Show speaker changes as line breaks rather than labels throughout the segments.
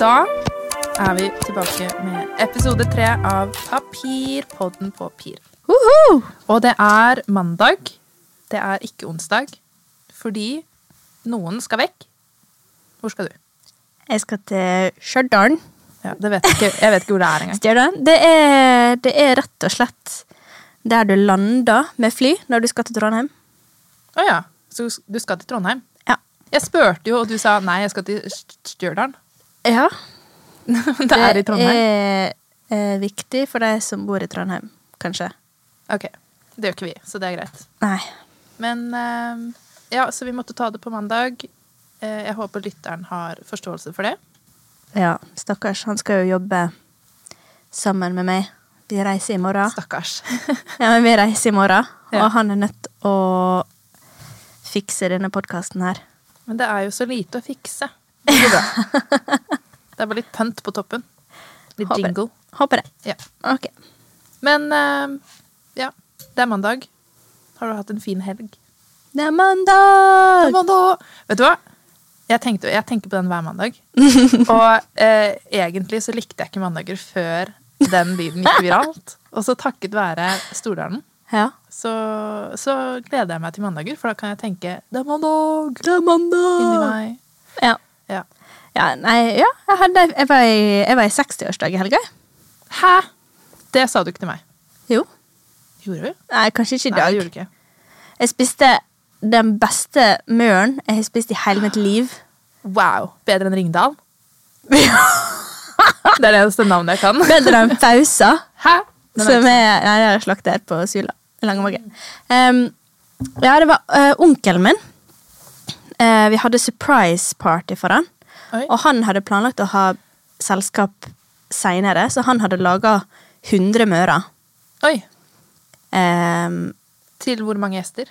Da er vi tilbake med episode tre av Papirpodden på Pir. Og det er mandag. Det er ikke onsdag. Fordi noen skal vekk. Hvor skal du?
Jeg skal til Stjørdal.
Ja, det vet jeg, ikke. jeg vet ikke hvor det er engang.
Stjørdal. Det, er- det er rett og slett der du lander med fly når du skal til Trondheim.
Å ja, så du skal til Trondheim?
Ja.
Jeg spurte jo, og du sa nei, jeg skal til St- Stjørdal.
ja
det er i Trondheim.
Det er eh, viktig for de som bor i Trondheim, kanskje.
Ok, Det gjør ikke vi, så det er greit.
Nei.
Men eh, ja, så vi måtte ta det på mandag. Eh, jeg håper lytteren har forståelse for det.
Ja, stakkars. Han skal jo jobbe sammen med meg. Vi reiser i morgen.
Stakkars.
Ja, men vi reiser i morgen,
Ja.
og han er nødt å fikse denne podkasten her.
Men det er jo så lite å fikse. Det blir bra. Det er bare litt pønt på toppen. Litt
Håper.
jingle.
Håper det.
Ja.
Ok.
Men eh, ja, det er mandag. Har du hatt en fin helg?
Det er mandag!
mandag! Vet du hva? Jeg, tenkte, jeg tenker på den hver mandag. Og eh, egentlig så likte jeg ikke mandager før den lyden gikk viralt. Og så takket være Stordalen,
Ja.
så, så gleder jeg meg til mandager. For da kan jeg tenke 'det er mandag'
Det er
inni
mandag!
meg.
Ja.
Ja.
ja. Nei, ja. Jeg, hadde, jeg, var i, jeg var i 60-årsdag i helga.
Hæ? Det sa du ikke til meg.
Jo.
Gjorde du?
Nei, kanskje ikke i
Nei, det
dag.
gjorde du ikke.
Jeg spiste den beste møren jeg har spist i hele mitt liv.
Wow. Bedre enn Ringdal? det er det eneste navnet jeg kan.
Bedre enn Fausa.
Hæ? Den er
Som
ikke-
er nei, det er slakter på Sula. Langevåg. Um, ja, det var eh, onkelen min. Eh, vi hadde surprise party for han.
Oi.
Og han hadde planlagt å ha selskap seinere, så han hadde laga 100 mører.
Oi.
Um,
Til hvor mange gjester?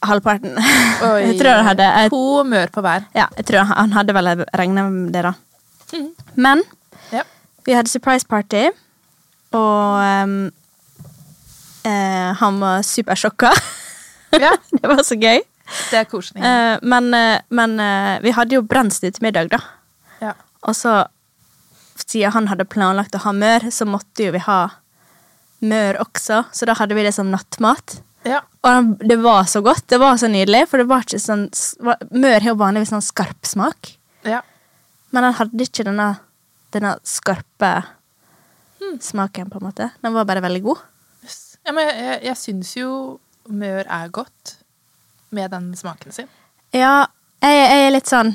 halvparten.
Oi.
jeg tror han hadde jeg,
To mør på hver.
ja, jeg tror han hadde vel regna med det, da.
Mhm.
Men
Ja.
Vi hadde surprise party, og ehm, eh, han var supersjokka.
ja,
det var så gøy.
det er koselig.
Eh, men eh, men eh, vi hadde jo brensel til middag, da.
Ja.
Og så, siden han hadde planlagt å ha mør, så måtte jo vi ha mør også. Så da hadde vi det som nattmat.
ja.
Og han- det var så godt. Det var så nydelig. For det var ikke sånn s- var- Mør har jo vanligvis sånn skarp smak.
ja.
Men han hadde ikke denne, denne skarpe smaken, på en måte. Den var bare veldig god.
Yes. ja men jeg, jeg syns jo mør er godt med den smaken sin.
Ja, jeg, jeg er litt sånn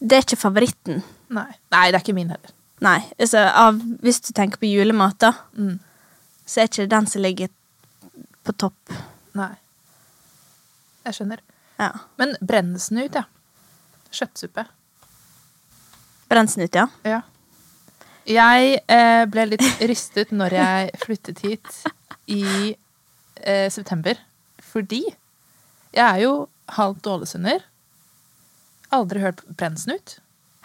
Det er ikke favoritten.
Nei, Nei det er ikke min heller.
Nei. Altså, av, hvis du tenker på julemat, da,
Mm.
så er ikke det den som ligger på topp.
Nei. Jeg skjønner.
Ja.
Men brennesnut, ja. Kjøttsuppe.
Brensnut, ja.
Ja. Jeg eh, ble litt rystet når jeg flyttet hit i eh, september. Fordi jeg er jo halvt ålesunder. Aldri hørt brennsnut.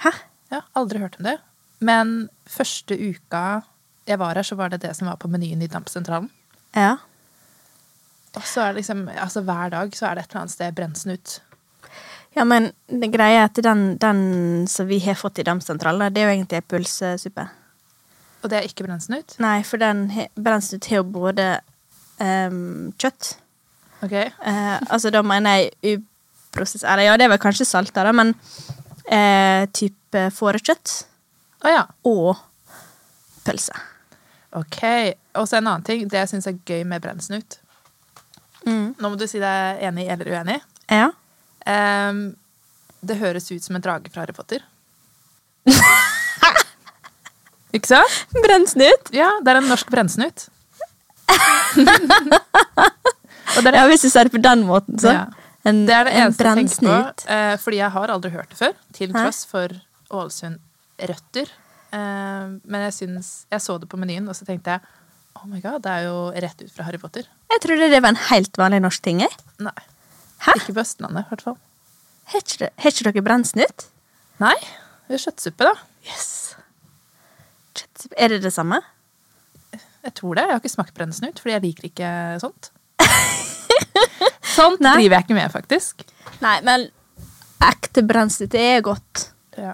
Hæ?
Ja, aldri hørt om det. Men første uka jeg var her, så var det det som var på menyen i Dampsentralen.
Ja.
Og så er det liksom, altså Hver dag så er det et eller annet sted brennsnut.
ja, men det greia er at den, den som vi har fått i Damsentralen, det er jo egentlig pølsesuppe.
Og det er ikke brennsnut.
Nei, for den he- brensnut har jo både ehm, kjøtt
Ok,
Eh, altså da mener jeg uprosess... Eller ja, det er vel kanskje salta, da, men eh, type fårekjøtt
Å ja.
og pølse.
Ok, Og så en annen ting. Det jeg syns er gøy med brennsnut. Nå må du si deg enig eller uenig.
Ja.
Ehm, det høres ut som en drage fra Harry Potter. Ikke sant?
Brennsnut!
Ja, det er en norsk brennsnut. Og det er
Ja, hvis du ser det på den måten, så.
Ja.
En,
Det er det
en
eneste jeg tenker på,
brennsnut.
eh, fordi jeg har aldri hørt det før, til
Hæ?
tross for Ålesund-røtter. Eh, men jeg, syns, jeg så det på menyen, og så tenkte jeg oh my god, det er jo rett ut fra Harry Potter.
Jeg trodde det var en helt vanlig norsk ting. jeg.
Nei,
Hæ?
ikke på Østlandet i hvert fall.
Har ikke, det- har ikke dere brennsnut?
Nei, det er kjøttsuppe, da.
Yes. Kjøttsuppe. Er det det samme?
Jeg tror det. Jeg har ikke smakt brennsnut, fordi jeg liker ikke sånt. sånt
Nei.
driver jeg ikke med, faktisk.
Nei, men ek, Ekte brensel. Det er godt.
Ja.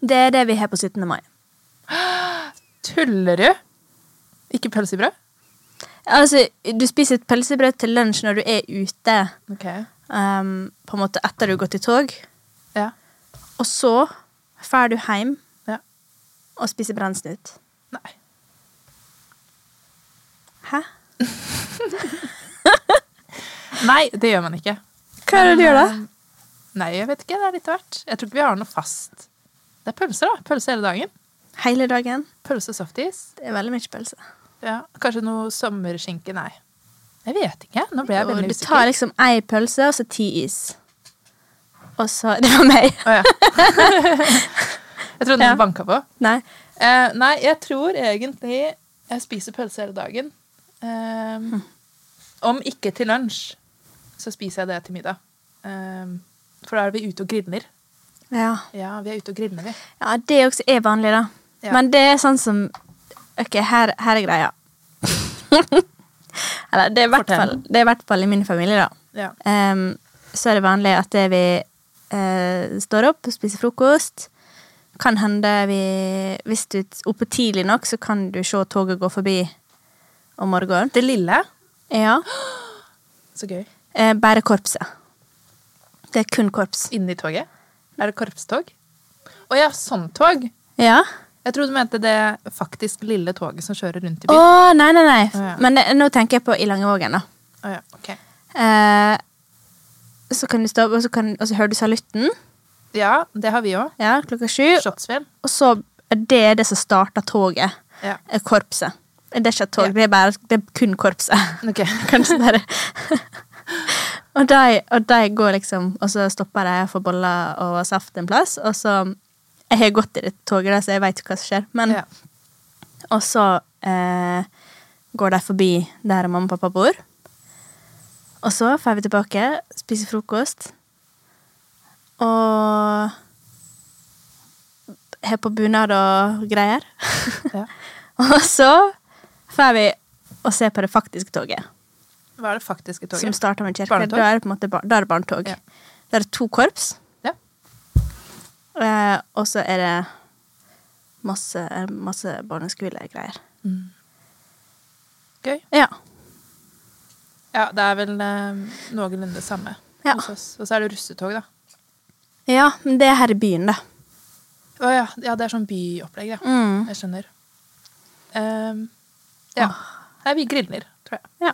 Det er det vi har på 17. mai.
Tuller du? Ikke pølsebrød?
Altså, du spiser et pølsebrød til lunsj når du er ute,
Ok.
ehm, på en måte etter du har gått i tog.
Ja.
Og så drar du hjem
ja.
og spiser brennsnut.
Nei.
Hæ?
Nei, det gjør man ikke.
Hva er det du gjør da?
Nei, jeg vet ikke. Det er litt av hvert. Jeg tror ikke vi har noe fast. Det er pølser, da. Pølse hele dagen.
Hele dagen.
Pølse og softis.
Det er veldig mye pølse.
Ja. Kanskje noe sommerskinke. Nei. Jeg vet ikke. Nå ble jeg
Og
veldig
du
usikker.
tar liksom ei pølse og så ti is. Og så Det var meg.
Å, ja. jeg trodde noen
Ja.
banka på.
Nei.
Eh, nei, jeg tror egentlig jeg spiser pølse hele dagen.
Hm.
Ehm, Om ikke til lunsj, så spiser jeg det til middag. Ehm, for da er vi ute og griller.
Ja.
Ja, vi er ute og griller, vi.
ja, det også er vanlig, da.
Ja.
Men det er sånn som Ok, her, her er greia. Eller det er i hvert
Fortell.
fall- det er i hvert fall i min familie, da.
Ja.
Ehm, så er det vanlig at det vi eh, står opp og spiser frokost. Kan hende vi Hvis du er oppe tidlig nok, så kan du se toget gå forbi om morgenen.
Det lille.
Ja.
Så gøy.
Eh, bare korpset. Det er kun korps.
Inni toget. Er det korpstog? Å ja, sånn tog.
Ja.
Jeg trodde du mente det faktisk lille toget som kjører rundt i
Å,
byen.
nei, nei, nei.
Å, ja.
Men eh, nå tenker jeg på i Langevågen, da.
Å ja, ok.
Eh, så kan du stå opp, og så, kan, og så hører du salutten.
Ja, det har vi òg.
Ja, klokka sju.
Slottsfjell.
Og så er det det som starter toget.
Ja.
Eh, Korpset. Det er ikke et tog,
Ja.
det, er bare, det er kun korpset.
Ok.
Kanskje bare og, de, og de går liksom, og så stopper de og får boller og saft en plass. Og så Jeg har gått i det toget, da, så jeg veit hva som skjer. Men,
Ja.
Og så eh, går de forbi der mamma og pappa bor. Og så drar vi tilbake, spiser frokost. Og har på bunad og greier.
Ja.
og så drar vi og ser på det faktiske toget,
Hva er det faktiske
som
toget?
starter med kirke.
Barnetog?
Da er det på en måte bar da er det barnetog.
Ja.
Da er det to korps,
Ja.
eh, og så er det masse, masse barneskolegreier.
Gøy.
Ja.
Ja, det er vel eh, noenlunde samme
Ja.
hos oss. Og så er det russetog, da.
ja, men det er her i byen, da.
Å ja. ja, det er sånn byopplegg, ja.
Mm.
Jeg skjønner. Ehm, ja.
Ah.
Nei, vi griller, tror jeg.
Ja.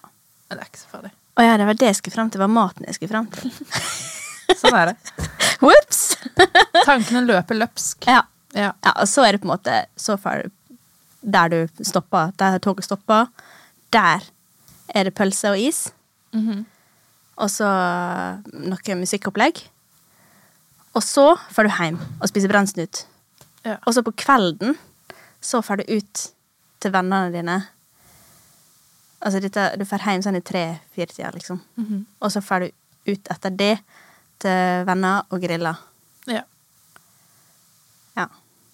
Men det er ikke så farlig.
Å ja, det var det jeg skulle fram til. Det var maten jeg skulle fram til.
Sånn er det.
Whoops!
Tankene løper løpsk.
Ja.
Ja.
ja. Og så er det på en måte så far der du stopper, der toget stopper. Der er det pølse og is.
Mhm.
Og så noe musikkopplegg. Og så drar du hjem og spiser brennsnut.
ja.
Og så på kvelden så drar du ut til vennene dine. Altså dette, du drar hjem sånn i tre-fire tida, liksom.
Mhm.
Og så drar du ut etter det til venner og griller.
ja.
Ja.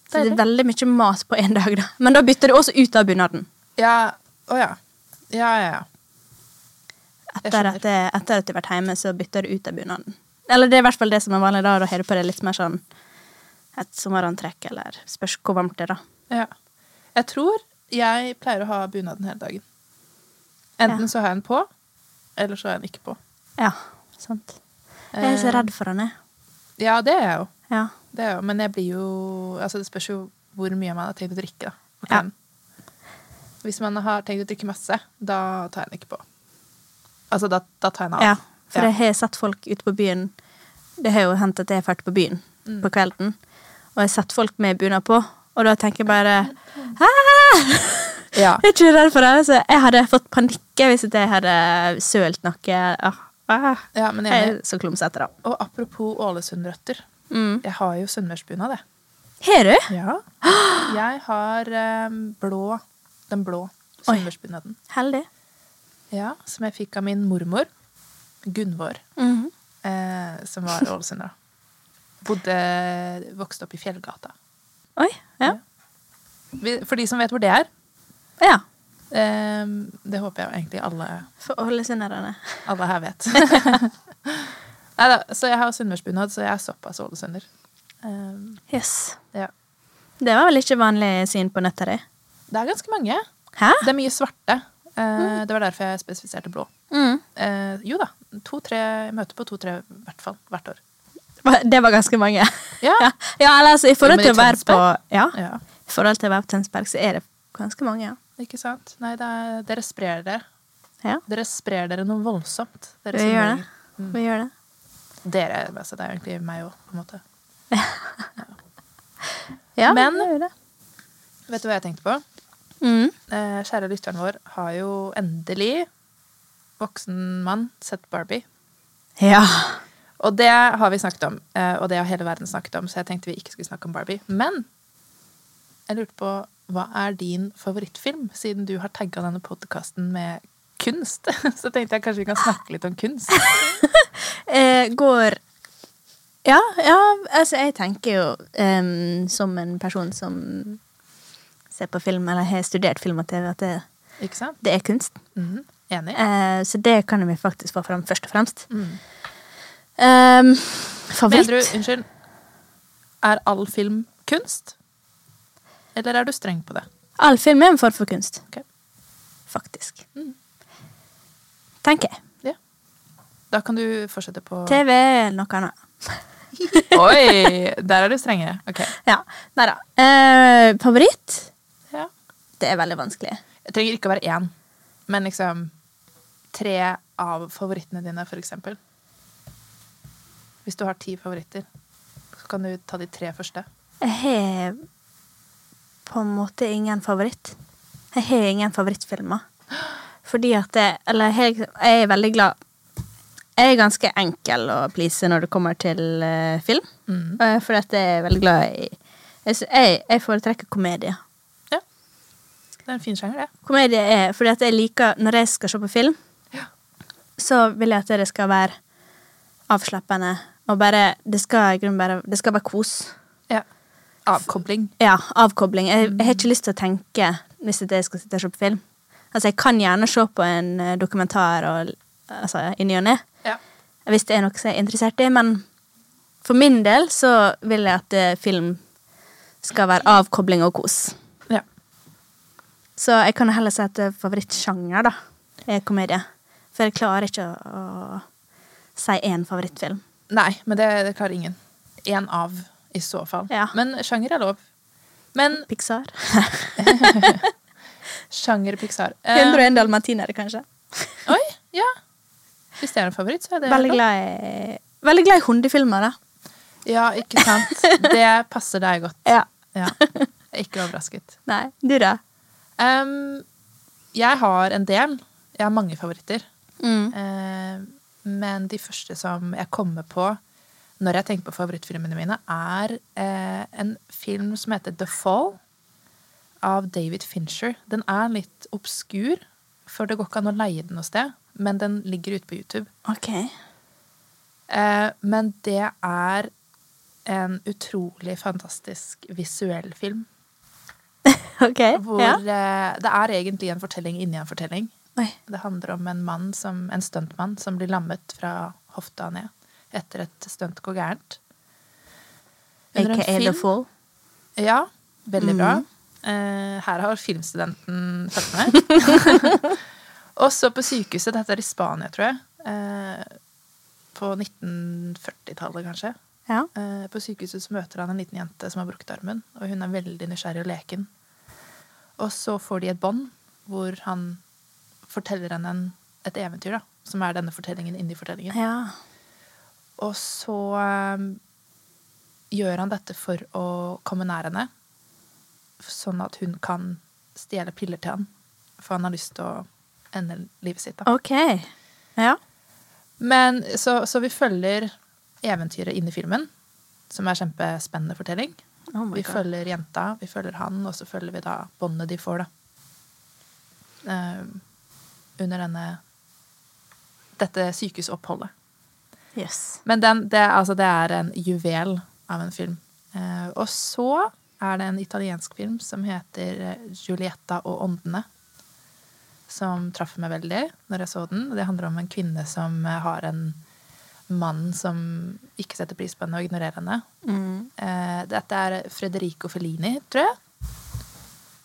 Så det er veldig mye mat på én dag, da. Men da bytter du også ut av bunaden.
Ja. Å ja. Ja, ja, ja. Jeg
Etter
skjønner.
at, det, etter at du har vært hjemme, så bytter du ut av bunaden. Eller det er i hvert fall det som er vanlig da, og da har du på deg litt mer sånn et sommerantrekk, eller spørs hvor varmt det er, da.
Ja. Jeg tror jeg pleier å ha bunaden hele dagen. Enten
Ja.
så har jeg den på, eller så har jeg den ikke på.
Ja, sant. Jeg
Eh.
er så redd for han, jeg.
Ja, det er jeg jo.
Ja.
Det er jo. Men jeg blir jo altså Det spørs jo hvor mye man har tenkt å drikke. da. på
Ja.
kvelden. Hvis man har tenkt å drikke masse, da tar jeg den ikke på. Altså, da, da tar jeg den av.
ja. For
Ja.
jeg har sett folk ute på byen Det har jo hendt at jeg har vært på byen på kvelden, og jeg har sett folk med bunad på, og da tenker jeg bare «Ah!»
Ja.
Jeg er ikke redd for det. Så jeg hadde fått panikk hvis ikke jeg hadde sølt noe. Ah, ah.
Ja, men
jeg
jeg,
er så klumsete, da.
og apropos Ålesundrøtter.
Mm.
Jeg har jo sunnmørsbunad, jeg.
Har du?
Ja. Jeg har eh, blå, den blå
Oi.
sunnmørsbunaden.
Heldig.
Ja, som jeg fikk av min mormor, Gunvor,
Mhm.
eh, som var ålesunder. Bodde, vokste opp i Fjellgata.
Oi. Ja.
Vi- For de som vet hvor det er,
ja.
eh, det håper jeg egentlig alle,
For ålesunderne.
alle her vet. Neida, så jeg har sunnmørsbunad, så jeg er såpass ålesønder. Um,
Yes.
ja.
Det var vel ikke vanlig syn på nøtter, det.
Det er ganske mange.
Hæ?
Det er mye svarte. Eh, Det var derfor jeg spesifiserte blå.
Mm.
Eh, jo da, to-tre jeg møter på to-tre i hvert fall hvert år.
Det var ganske mange.
Ja.
ja. ja eller altså, i forhold
Men i
til å være på
Tønsberg?
Ja,
Ja,
i forhold til å være på Tønsberg, så er det ganske mange, ja.
ikke sant? Nei, det er, dere sprer dere.
ja.
Dere sprer dere noe voldsomt. Dere
Vi gjør det.
sunnmøringer.
Vi gjør det.
Dere, altså, det er egentlig meg òg, på en måte.
Ja,
Men-
vi gjør det.
Vet du hva jeg tenkte på?
Mm.
Eh, kjære lytteren vår har jo endelig, voksen mann, sett Barbie.
Ja.
Og det har vi snakket om, eh, og det har hele verden snakket om, så jeg tenkte vi ikke skulle snakke om Barbie. Men jeg lurte på, hva er din favorittfilm, siden du har tagga denne podkasten med kunst? Så tenkte jeg kanskje vi kan snakke litt om kunst.
Eh, går ja, ja, altså jeg tenker jo em, som en person som ser på film, eller har studert film og TV, at det,
Ikke sant?
det er kunst.
Mhm. Enig?
Eh, så det kan vi faktisk få fram først og fremst.
Mm.
Em,
Mener du,
favoritt?
unnskyld, er all film kunst? Eller er du streng på det?
All film er en form for kunst,
Ok.
faktisk.
Mm.
Tenker jeg.
Ja. Da kan du fortsette på
TV eller noe annet.
Oi! Der er du strengere. Ok.
Ja, nei da. Eh, favoritt?
Ja.
Det er veldig vanskelig.
Det trenger ikke å være én, men liksom tre av favorittene dine, for eksempel. Hvis du har ti favoritter, så kan du ta de tre første.
Jeg har på en måte ingen favoritt. Jeg har ingen favorittfilmer. Fordi at det, Eller jeg, jeg er veldig glad Jeg er ganske enkel å please når det kommer til eh, film.
Mm.
Eh, fordi at jeg er veldig glad i Jeg, sy- jeg, jeg foretrekker komedie.
Ja. Det er en fin sjanger, det.
Komedie er fordi at jeg liker Når jeg skal se på film,
Ja.
så vil jeg at det skal være avslappende. Og bare Det skal i grunnen bare Det skal være kos.
Avkobling.
Ja, avkobling. Jeg, jeg har ikke lyst til å tenke hvis at jeg skal sitte og se på film. Altså, jeg kan gjerne se på en eh, dokumentar og, altså, i ny og ne,
Ja.
hvis det er noe som jeg er interessert i, men for min del så vil jeg at eh, film skal være avkobling og kos.
ja.
Så jeg kan heller si at eh, favorittsjanger da, er komedie. For jeg klarer ikke å, å si én favorittfilm.
Nei, men det, det klarer ingen. Én av, i så fall.
Ja.
Men sjanger er lov. Men
Pixar.
sjanger Pixar Eh,
101 dalmatinere, kanskje.
Oi! Ja. Hvis det er en favoritt, så er det
Veldig
lov.
glad i, veldig glad i hundefilmer, da.
Ja, ikke sant. Det passer deg godt.
Ja.
Ja. Jeg er Ikke overrasket.
Nei, du da?
Ehm, jeg har en del. Jeg har mange favoritter.
Mm.
Ehm, men de første som jeg kommer på når jeg tenker på favorittfilmene mine, er eh, en film som heter The Fall av David Fincher. Den er litt obskur, for det går ikke an å leie den noe sted. Men den ligger ute på YouTube.
Ok.
Eh, men det er en utrolig fantastisk visuell film.
Ok,
Hvor
ja.
eh, det er egentlig en fortelling inni en fortelling.
Oi.
Det handler om en mann som, en stuntmann som blir lammet fra hofta ned etter et stunt går gærent. Under en
AKA The
film- Mm.
Fall.
Ja, veldig bra. Eh, her har filmstudenten fulgt med. og så på sykehuset, dette er i Spania, tror jeg. eh, på 1940-tallet, kanskje.
Ja.
Eh, På sykehuset så møter han en liten jente som har brukt armen, og hun er veldig nysgjerrig og leken. Og så får de et bånd hvor han forteller henne en, et eventyr, da, som er denne fortellingen inni fortellingen.
ja.
Og så eh, gjør han dette for å komme nær henne, sånn at hun kan stjele piller til han, for han har lyst til å ende livet sitt. da.
Ok. Ja.
Men, så, så vi følger eventyret inn i filmen, som er kjempespennende fortelling.
Oh my
vi
God.
følger jenta, vi følger han, og så følger vi da båndet de får, da. Eh, under denne dette sykehusoppholdet.
Yes.
Men den, det, altså, det er en juvel av en film. Eh, og så er det en italiensk film som heter eh, 'Giulietta og åndene'. Som traff meg veldig når jeg så den. Det handler om en kvinne som eh, har en mann som ikke setter pris på henne og ignorerer henne.
Mm.
Eh, dette er Frederico Fellini, tror jeg.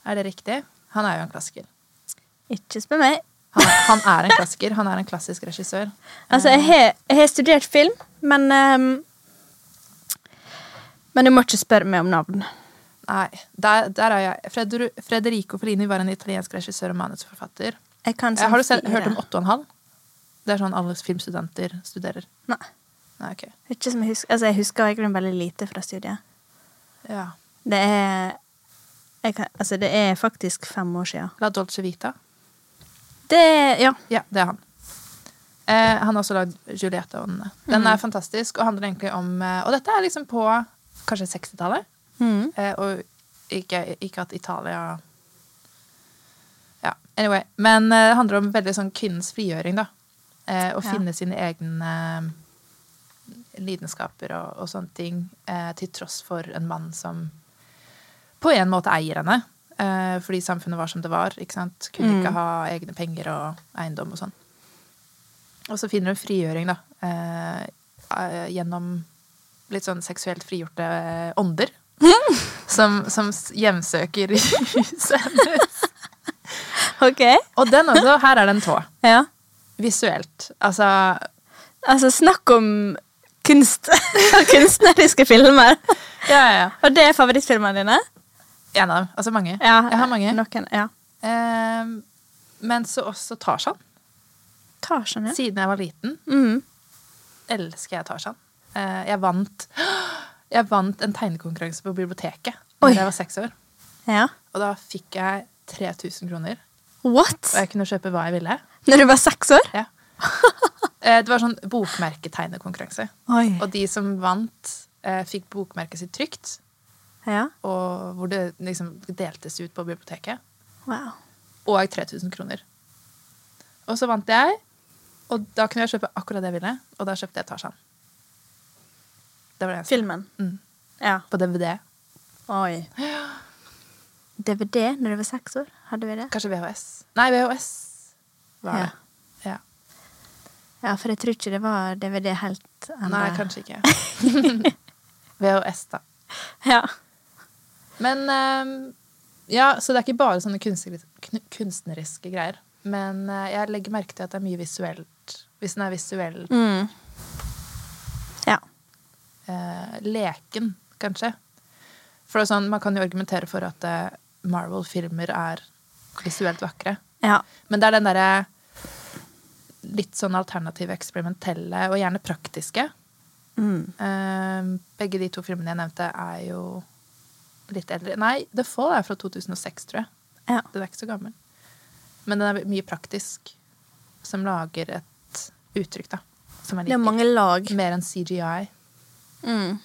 Er det riktig? Han er jo en klassiker.
Ikke spør meg.
Han, han er en klassiker. Han er en klassisk regissør.
Altså, jeg har, jeg har studert film, men ehm, Men du må ikke spørre meg om navn.
Nei, der, der er jeg. Fredru, Frederico Fellini var en italiensk regissør og manusforfatter.
Jeg kan
Eh,
sånn
har du selv,
fire.
hørt om åtte og en halv? Det er sånn alle filmstudenter studerer.
Nei.
Nei, ok.
Ikke som jeg husker. Altså, jeg husker egentlig veldig lite fra studiet.
Ja.
Det er jeg kan, Altså, det er faktisk fem år siden.
La Dolce Vita.
Det Ja.
Ja, det er han. Eh, han har også lagd Juliette og Åndene. Den
Mhm.
er fantastisk og handler egentlig om eh, Og dette er liksom på kanskje 60-tallet.
Mm.
Eh, og ikke, ikke at Italia Ja, anyway. Men eh, det handler om veldig sånn kvinnens frigjøring, da. Eh, å
Ja.
finne sine egne eh, lidenskaper og, og sånne ting. Eh, til tross for en mann som på en måte eier henne. Eh, fordi samfunnet var som det var. ikke sant? Kunne
Mm.
ikke ha egne penger og eiendom og sånn. Og så finner hun frigjøring, da. Eh, eh, gjennom litt sånn seksuelt frigjorte eh, ånder. Som, som s- hjemsøker huset hennes.
OK.
Og den også. Her er det en tå.
Ja.
Visuelt. Altså
Altså, snakk om kunst og kunstneriske filmer.
Ja, ja, ja.
Og det er favorittfilmene dine?
En av dem. Altså mange. Jeg har mange.
Noen, ja.
Eh, men så også Tarzan.
Tarzan, ja.
Siden jeg var liten,
Mm.
elsker jeg Tarzan. Eh, jeg vant Jeg vant en tegnekonkurranse på biblioteket da
Oi.
jeg var seks år.
ja.
Og da fikk jeg 3000 kroner.
What?
Og jeg kunne kjøpe hva jeg ville.
Når du var seks år?
Ja. Eh, Det var sånn bokmerketegnekonkurranse.
Oi.
Og de som vant, eh, fikk bokmerket sitt trygt.
Ja.
Og hvor det liksom deltes ut på biblioteket.
Wow.
Og 3000 kroner. Og så vant jeg, og da kunne jeg kjøpe akkurat det jeg ville. Og da kjøpte jeg Tarzan. Det var det eneste.
Filmen.
Mm.
Ja.
På DVD.
Oi. DVD når du var seks år? Hadde vi det?
Kanskje VHS. Nei, VHS var det. Ja.
Ja, for jeg tror ikke det var DVD helt ennå.
Nei, kanskje ikke. VHS, da.
Ja.
Men ehm, Ja, så det er ikke bare sånne kunstneris- kn- kunstneriske greier. Men eh, jeg legger merke til at det er mye visuelt. Hvis den er visuell
Mm. Ja.
eh, leken, kanskje. For det er sånn, Man kan jo argumentere for at eh, Marvel-filmer er visuelt vakre.
Ja.
Men det er den derre litt sånn alternative, eksperimentelle og gjerne praktiske.
Mm.
Eh, begge de to filmene jeg nevnte, er jo litt eldre. Nei, The Fall er fra 2006, tror jeg.
ja.
Den er ikke så gammel. Men den er mye praktisk. Som lager et uttrykk, da. Som jeg
Det er
liker.
mange lag.
Mer enn CGI.
Mm.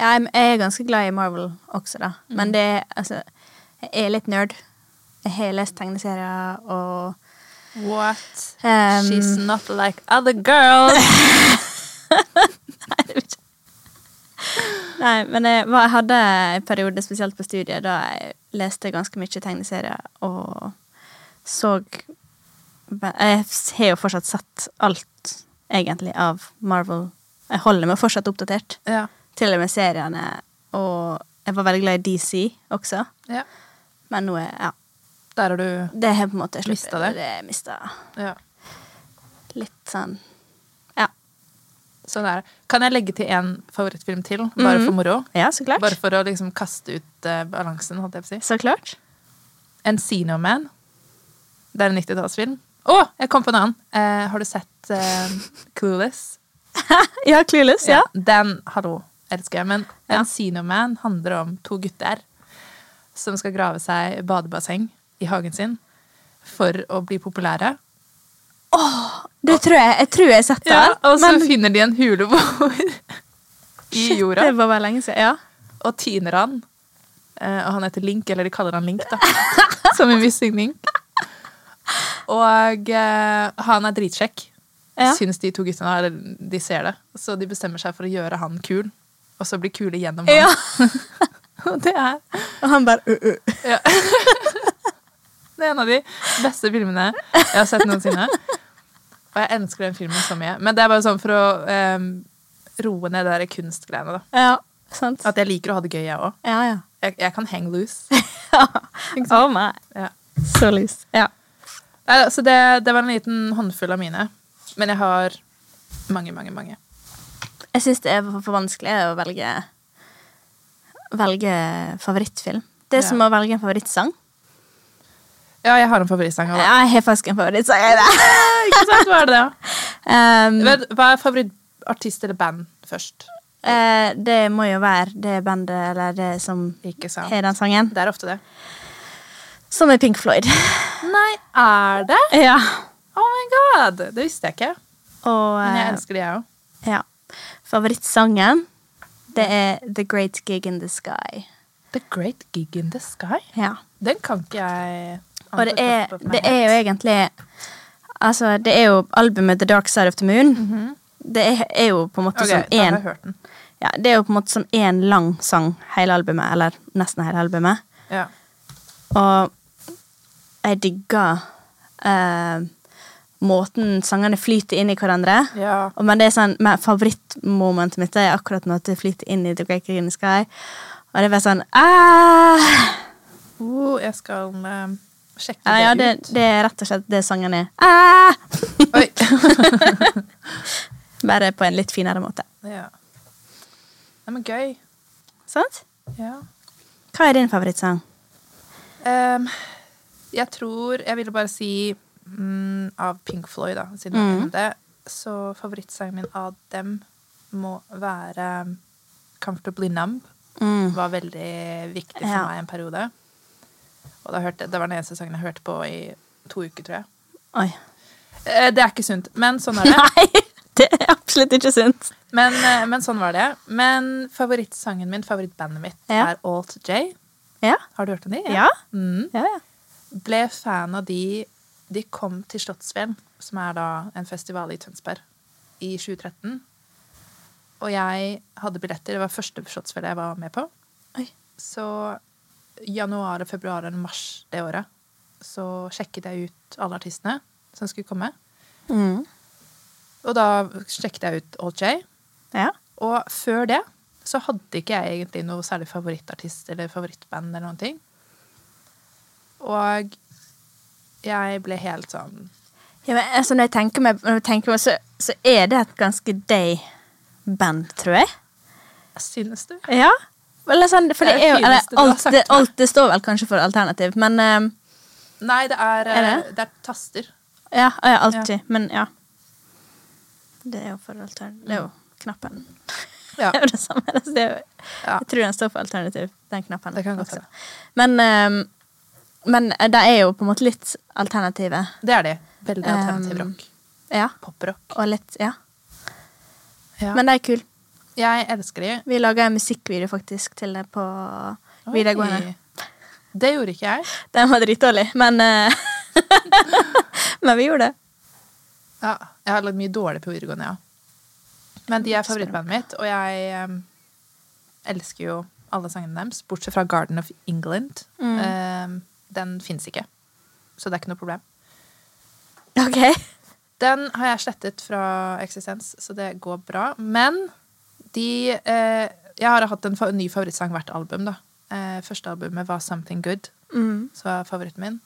Ja, jeg jeg er ganske glad i Marvel også, da. Men det er altså Jeg er litt nerd. Jeg har lest tegneserier og
What?
Um,
She's not like other girls.
Nei, men jeg, var, jeg hadde en periode, spesielt på studiet, da jeg leste ganske mye tegneserier og så Jeg har jo fortsatt sett alt, egentlig, av Marvel. Jeg holder meg fortsatt oppdatert.
ja.
Til og med seriene. Og jeg var veldig glad i DC også.
ja.
Men nå er ja,
Der er du
det har jeg på en måte sluppet.
Mistet det?
det mista
Ja.
litt sånn Ja.
Sånn er det. Kan jeg legge til én favorittfilm til, bare for moro?
Ja, så klart.
Bare for å liksom kaste ut eh, balansen, holdt jeg på å si.
Så klart.
Encino Man. Det er en 90-tallsfilm. Å, jeg kom på en annen! Eh, har du sett eh, Clueless?
Ja, Clueless, ja.
Den, hallo, elsker jeg. Men
Ja.
Encino Man handler om to gutter som skal grave seg badebasseng i hagen sin for å bli populære.
Det tror jeg jeg tror jeg har sett det.
og så
men
finner de en huleboer i
shit,
jorda
det var bare lenge siden. Ja.
og tiner han. Eh, og han heter Link, eller de kaller han Link, da. Som i Missing Link. Og eh, han er dritsjekk.
Ja.
Syns de to guttene, eller de ser det. Så de bestemmer seg for å gjøre han kul, og så bli kule gjennom han.
Ja.
Og «Øh, det er
Og han bare ø, ø.
Ja. Det er en av de beste filmene jeg har sett noensinne. Og jeg elsker den filmen så mye. Men det er bare sånn for å em, roe ned det der kunstgreiene, da.
Ja, sant.
At jeg liker å ha det gøy, jeg òg.
Ja, ja.
Jeg, jeg kan hang loose.
oh my.
Ja.
Så lys. Ja.
Nei, da, så det, det var en liten håndfull av mine. Men jeg har mange, mange, mange.
Jeg syns det er for, for vanskelig å velge Velge favorittfilm. Det er
Ja.
som å velge en favorittsang.
Ja, jeg har en favorittsang òg.
Jeg har faktisk en favorittsang. jeg da.
Ikke sant? Hva er det, da?
Um,
Vet- Hva er favorittartist eller band først?
eh, det må jo være det bandet eller det som
Ikke sant?
har den sangen.
Det er ofte det.
Som er Pink Floyd.
Nei, er det?
ja.
Oh my god! Det visste jeg ikke.
Og
Men jeg
eh,
elsker de, jeg òg.
ja. favorittsangen, det er The Great Gig in the Sky.
The Great Gig in the Sky. E-
Ja.
Den kan ikke jeg
Og det er,
anbefale på meg
det er jo
helt.
egentlig Altså, det er jo albumet The Dark Side of the Moon. Det er, er jo på en måte
Mhm. Ok, da
som
har jeg
én
hørt den.
ja, Det er jo på en måte som én lang sang, hele albumet, eller nesten hele albumet.
Ja.
Og jeg digger eh, måten sangene flyter inn i hverandre.
ja.
Og- Men det er sånn, men favorittmomentet mitt er akkurat når det flyter inn i The Great Green Sky. Og det er bare sånn ah!
Oh, jeg skal eh, sjekke
ja, ja,
det
det, det er rett og slett det sangen er. Ah!
ut. Oi.
Bare på en litt finere måte.
Ja. Nei, men gøy.
Sant?
Ja.
Hva er din favorittsang?
Ehm, jeg tror Jeg ville bare si mm, av Pink Floyd, da, siden vi
Mm.
er inne på det. Så favorittsangen min av dem må være mm, 'Comfortably Numb'.
Mm.
Var veldig viktig for
Ja.
meg en periode. Og da hørte, det var den eneste sangen jeg hørte på i to uker, tror jeg.
Oi.
Eh, det er ikke sunt, men sånn er det.
Nei! Det er absolutt ikke sunt.
Men, eh, men sånn var det. Men favorittsangen min, favorittbandet mitt,
Ja.
er Alt J.
Ja.
Har du hørt om de?
Ja.
Mm.
Ja, ja.
ble fan av de De kom til Slottsfjell, som er da en festival i Tønsberg, i 2013. Og jeg hadde billetter. Det var første Slottsfjell jeg var med på.
Oi.
Så januar, februar eller mars det året så sjekket jeg ut alle artistene som skulle komme.
Mm.
Og da sjekket jeg ut Old J.
ja.
Og før det så hadde ikke jeg egentlig noe særlig favorittartist eller favorittband eller noen ting. Og jeg ble helt sånn
Ja, men, altså, når jeg tenker meg, når jeg tenker meg så, så er det et ganske day band, tror jeg.
Synes du?
Ja. Eller sånn, for det
Det er
er jo
det
eller,
fineste du har
alt,
sagt
det,
til meg.
alt det står vel kanskje for alternativ, men eh,
Nei, det er, eh,
Er
det er taster.
Ja, ja alltid. Men ja. Mm. Det er jo for alternativ. Det er jo knappen.
Ja.
Det er jo det samme. altså, Det er jo,
Ja.
Jeg tror den står for alternativ, den knappen.
Det kan godt
også.
hende.
Men, ehm, men de er jo på en måte litt alternative.
Det er de. Veldig alternativ
Um,
rock.
Ja.
Poprock.
Og litt Ja.
Ja.
Men de er kule.
Jeg elsker de.
Vi laga en musikkvideo faktisk til det på
Oi.
videregående.
Det gjorde ikke jeg.
Den var dritdårlig, men eh, Men vi gjorde det.
Ja, jeg har lagd mye dårlig på videregående, ja. Men de er favorittbandet mitt, og jeg em, elsker jo alle sangene deres, bortsett fra Garden of England. Em, den fins ikke, så det er ikke noe problem.
OK.
Den har jeg slettet fra eksistens, så det går bra. Men de eh, Jeg har hatt en fa ny favorittsang hvert album, da. Eh, første albumet var Something Good,
Mm.
som var favoritten min.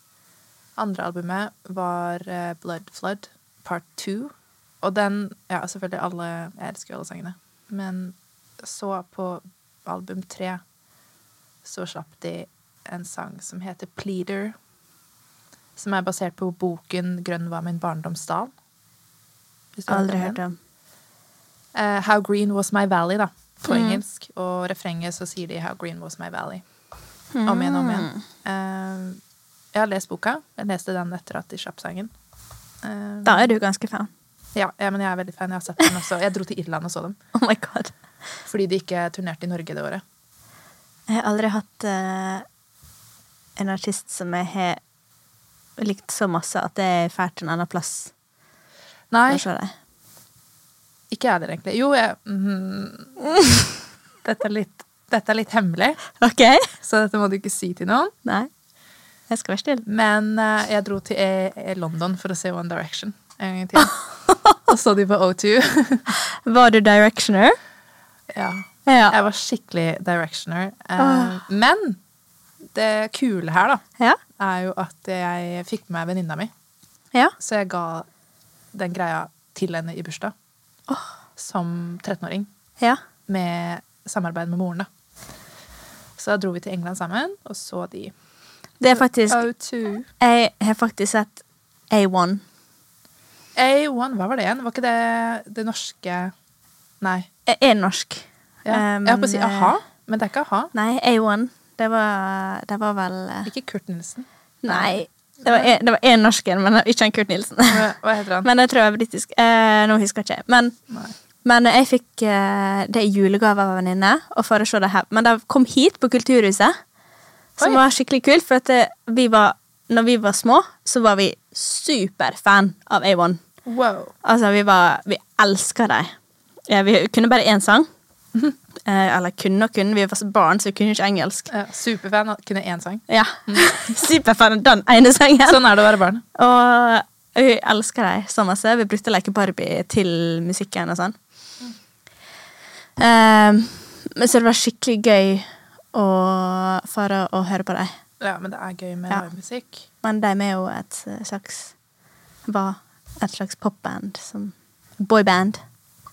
Andre albumet var eh, Blood Flood, part two. Og den Ja, selvfølgelig alle Jeg elsker jo alle sangene. Men så på album tre så slapp de en sang som heter Pleader. Som er basert på boken 'Grønn var min barndomsdal'. Hvis du har
Aldri
den.
hørt om.
Eh, 'How green was my valley', da, på engelsk. Og refrenget så sier de 'How green was my valley'. Om igjen, om igjen. Eh, jeg har lest boka. Jeg leste den etter at de slapp sangen. Eh,
Da er du ganske fan.
ja, ja, men jeg er veldig fan. Jeg har sett den også. Jeg dro til Irland og så dem.
Oh my god.
Fordi de ikke turnerte i Norge det året.
Jeg har aldri hatt eh, en artist som jeg har likt så masse at jeg er fælt en annen plass.
Nei,
Hva sa jeg?
ikke jeg heller, egentlig. Jo, jeg mhm. dette, er litt, dette er litt hemmelig,
Ok.
så dette må du ikke si til noen.
Nei. Jeg skal være stille.
Men eh, jeg dro til eh, eh, London for å se One Direction en gang til. Og så de på O2.
Var du directioner?
ja.
Ja.
Jeg var skikkelig directioner. Eh,
Ah.
Men det kule her, da,
Ja.
er jo at jeg fikk med meg venninna mi.
ja.
Så jeg ga den greia til henne i bursdag.
Ah.
Som 13-åring.
ja.
Med samarbeid med moren, da. Så da dro vi til England sammen, og så de.
Det er faktisk
O2.
Jeg har faktisk sett A1.
A1, hva var det igjen? Var ikke det det norske Nei.
Jeg er norsk.
Ja.
Eh,
jeg holdt på å
men,
si
eh,
a-ha, men det er ikke a-ha.
Nei, A1. Det var, det var vel eh,
Ikke Kurt Nilsen.
Nei. Det var en- det var én norsk en, men ikke en Kurt Nilsen.
Hva, hva heter han?
Men jeg tror jeg er britisk. Eh, nå husker jeg ikke. Men,
Nei.
men jeg fikk eh, det i julegave av en venninne. og for å se det her. Men de kom hit på Kulturhuset, som
Oi.
var skikkelig kult. For at eh, vi var, når vi var små, så var vi superfan av A1.
Wow.
Altså, vi var Vi elska dem. Ja, vi kunne bare én sang. Eh, eller kunne og kunne. Vi var så barn, så vi kunne ikke engelsk.
Ja, superfan. Kunne én sang.
Ja. Superfan av den ene sangen.
Sånn er det å være barn.
Og vi elsker dem så masse. Vi brukte å leke Barbie til musikken og sånn. Eh, men så det var skikkelig gøy å fare og høre på dem.
Ja, men det er gøy med
Ja.
livemusikk.
Men de er jo et slags Var et slags popband. Som boyband.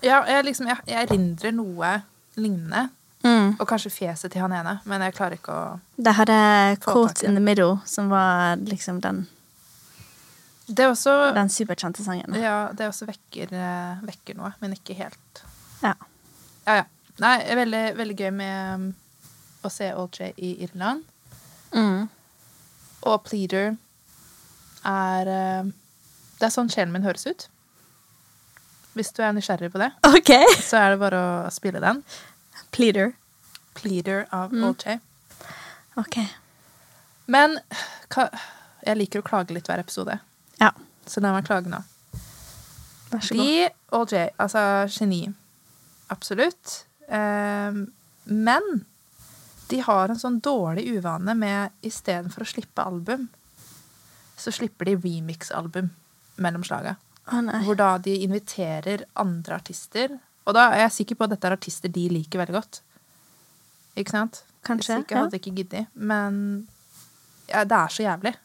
Ja, jeg, liksom, jeg, jeg erindrer noe lignende.
Mm.
Og kanskje fjeset til han ene, men jeg klarer ikke å
De hadde
Få
Caught
tak i
in the Middle, som var liksom den,
Det er også,
den superkjente sangen.
ja, det er også vekker, eh, vekker noe, men ikke helt.
Ja.
Ja, ja. Nei, veldig, veldig gøy med um, å se OJ i Irland.
Mm.
Og Pleader er eh, Det er sånn sjelen min høres ut. Hvis du er nysgjerrig på det,
OK!
så er det bare å spille den.
Pleader.
Pleader av
Mm.
OJ.
OK.
Men ka, jeg liker å klage litt hver episode,
Ja.
så den var klage nå.
Vær så god.
De og Jay, altså geni. Absolutt. Ehm, men de har en sånn dårlig uvane med istedenfor å slippe album, så slipper de remix-album mellom slaga.
Å nei.
Hvor da de inviterer andre artister. Og da er jeg sikker på at dette er artister de liker veldig godt. Ikke sant?
Kanskje,
Hvis ikke
ja.
hadde jeg ikke giddet. Men ja, det er så jævlig.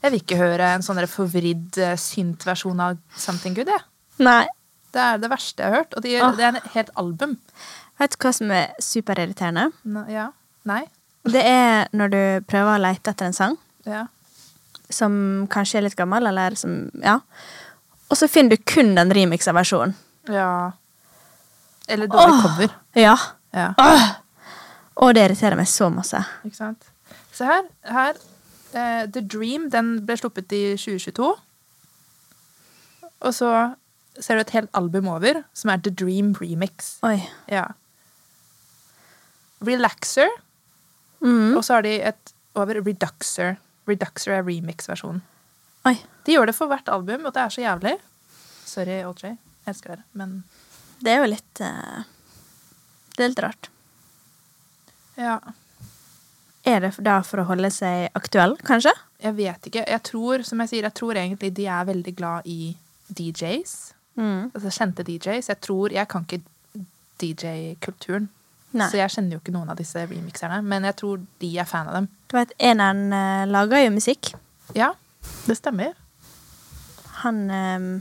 Jeg vil ikke høre en sånn der forvridd eh, synt-versjon av Something Good, jeg.
Nei.
Det er det verste jeg har hørt. Og de,
Åh.
det er et helt album.
Vet du hva som er superirriterende?
N ja. Nei.
Det er når du prøver å lete etter en sang
Ja.
som kanskje er litt gammel, eller som Ja. Og så finner du kun den remixa versjonen.
ja. Eller dårlig
Åh.
cover.
Ja.
Ja.
Og det irriterer meg så masse.
Ikke sant? Se her. her eh, The Dream den ble sluppet i 2022. Og så ser du et helt album over, som er The Dream Remix.
Oi.
Ja. Relaxer,
Mm.
og så har de et over Reduxer. Reduxer er remix-versjonen.
Oi.
De gjør det for hvert album, og det er så jævlig. Sorry, OJ. Jeg elsker dere, men
Det er jo litt eh, Det er litt rart.
ja.
Er det da for å holde seg aktuell, kanskje?
Jeg vet ikke. Jeg tror, som jeg sier, jeg tror egentlig de er veldig glad i DJs.
Mhm.
altså, kjente DJs. Jeg tror Jeg kan ikke DJ-kulturen.
Nei.
Så jeg kjenner jo ikke noen av disse remixerne. Men jeg tror de er fan av dem.
Du vet, Eneren eh, lager jo musikk.
Ja, det stemmer.
Han, eh,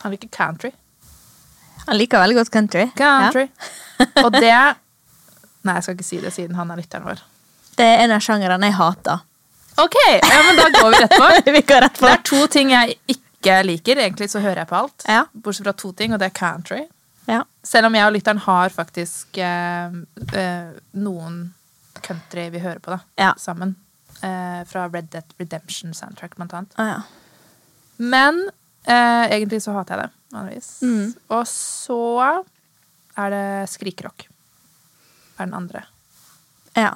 Han liker country.
han liker veldig godt country.
Country. Og det Nei, jeg skal ikke si det siden han er lytteren vår.
Ja. Det er en av sjangrene jeg hater.
OK, ja, men da går vi rett på.
Vi går rett
Det er to ting jeg ikke liker. Egentlig så hører jeg på alt.
Ja.
Bortsett fra to ting, og det er country.
Ja.
Selv om jeg og lytteren har faktisk eh, eh, noen country vi hører på, da.
Ja.
Sammen. Eh, fra Red Dead Redemption soundtrack, blant annet.
Å, ja.
Men eh, egentlig så hater jeg det, vanligvis.
Mm.
Og så er det skrikrock. Er den andre.
ja.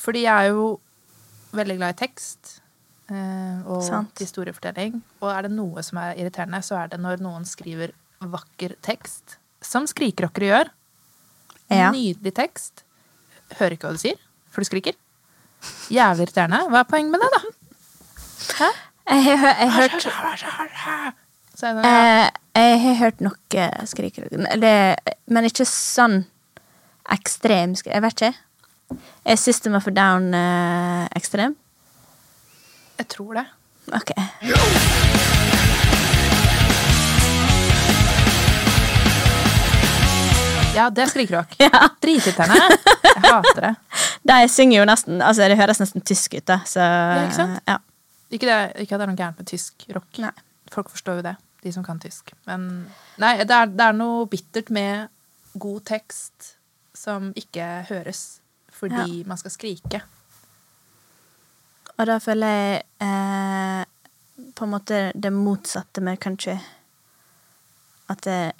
Fordi jeg er jo veldig glad i tekst. eh, Og
Sant.
historiefortelling. Og er det noe som er irriterende, så er det når noen skriver vakker tekst. Som skrikrockere gjør.
Ja.
Nydelig tekst. Hører ikke hva du sier, for du skriker. Jævlig irriterende. Hva er poenget med det, da?
Jeg, har- jeg, har hørt,
Sånn Så er det sånn, ja.
Eh, jeg har hørt eh, noe skrikerøy Det- Men ikke sånn ekstrem skrik. Jeg vet ikke. Er System of a Down eh, ekstrem?
Jeg tror det.
Ok.
Ja, det er skrikerock.
Ja.
Drithirriterende. Jeg hater det.
De synger jo nesten altså Det høres nesten tysk ut, da. Så, ja,
ikke sant? Ikke, det, ikke at det er noe gærent med tysk rock.
Nei.
Folk forstår jo det, de som kan tysk. Men nei, det er, det er noe bittert med god tekst som ikke høres fordi man skal skrike.
Og da føler jeg eh, på en måte det motsatte med country. At det er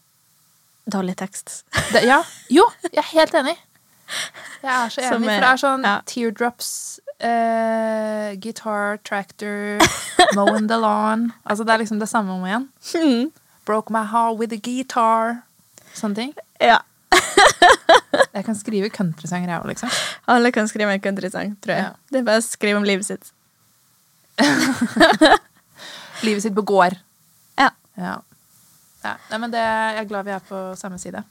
dårlig tekst.
Det, ja. Jo, jeg er helt enig. Jeg er så enig,
Som er-
for det er sånn
ja.
teardrops, eh, guitar, tractor, mowing the lawn. Altså det er liksom det samme om igjen.
Mm.
Broke my heart with a guitar. Sånne ting.
Ja.
Jeg kan skrive countrysanger, jeg òg, liksom.
Alle kan skrive en countrysang, tror jeg.
Ja.
Det er bare å skrive om livet sitt.
Livet sitt på gård.
Ja.
Ja. ja. Nei, men det, jeg er glad vi er på samme side.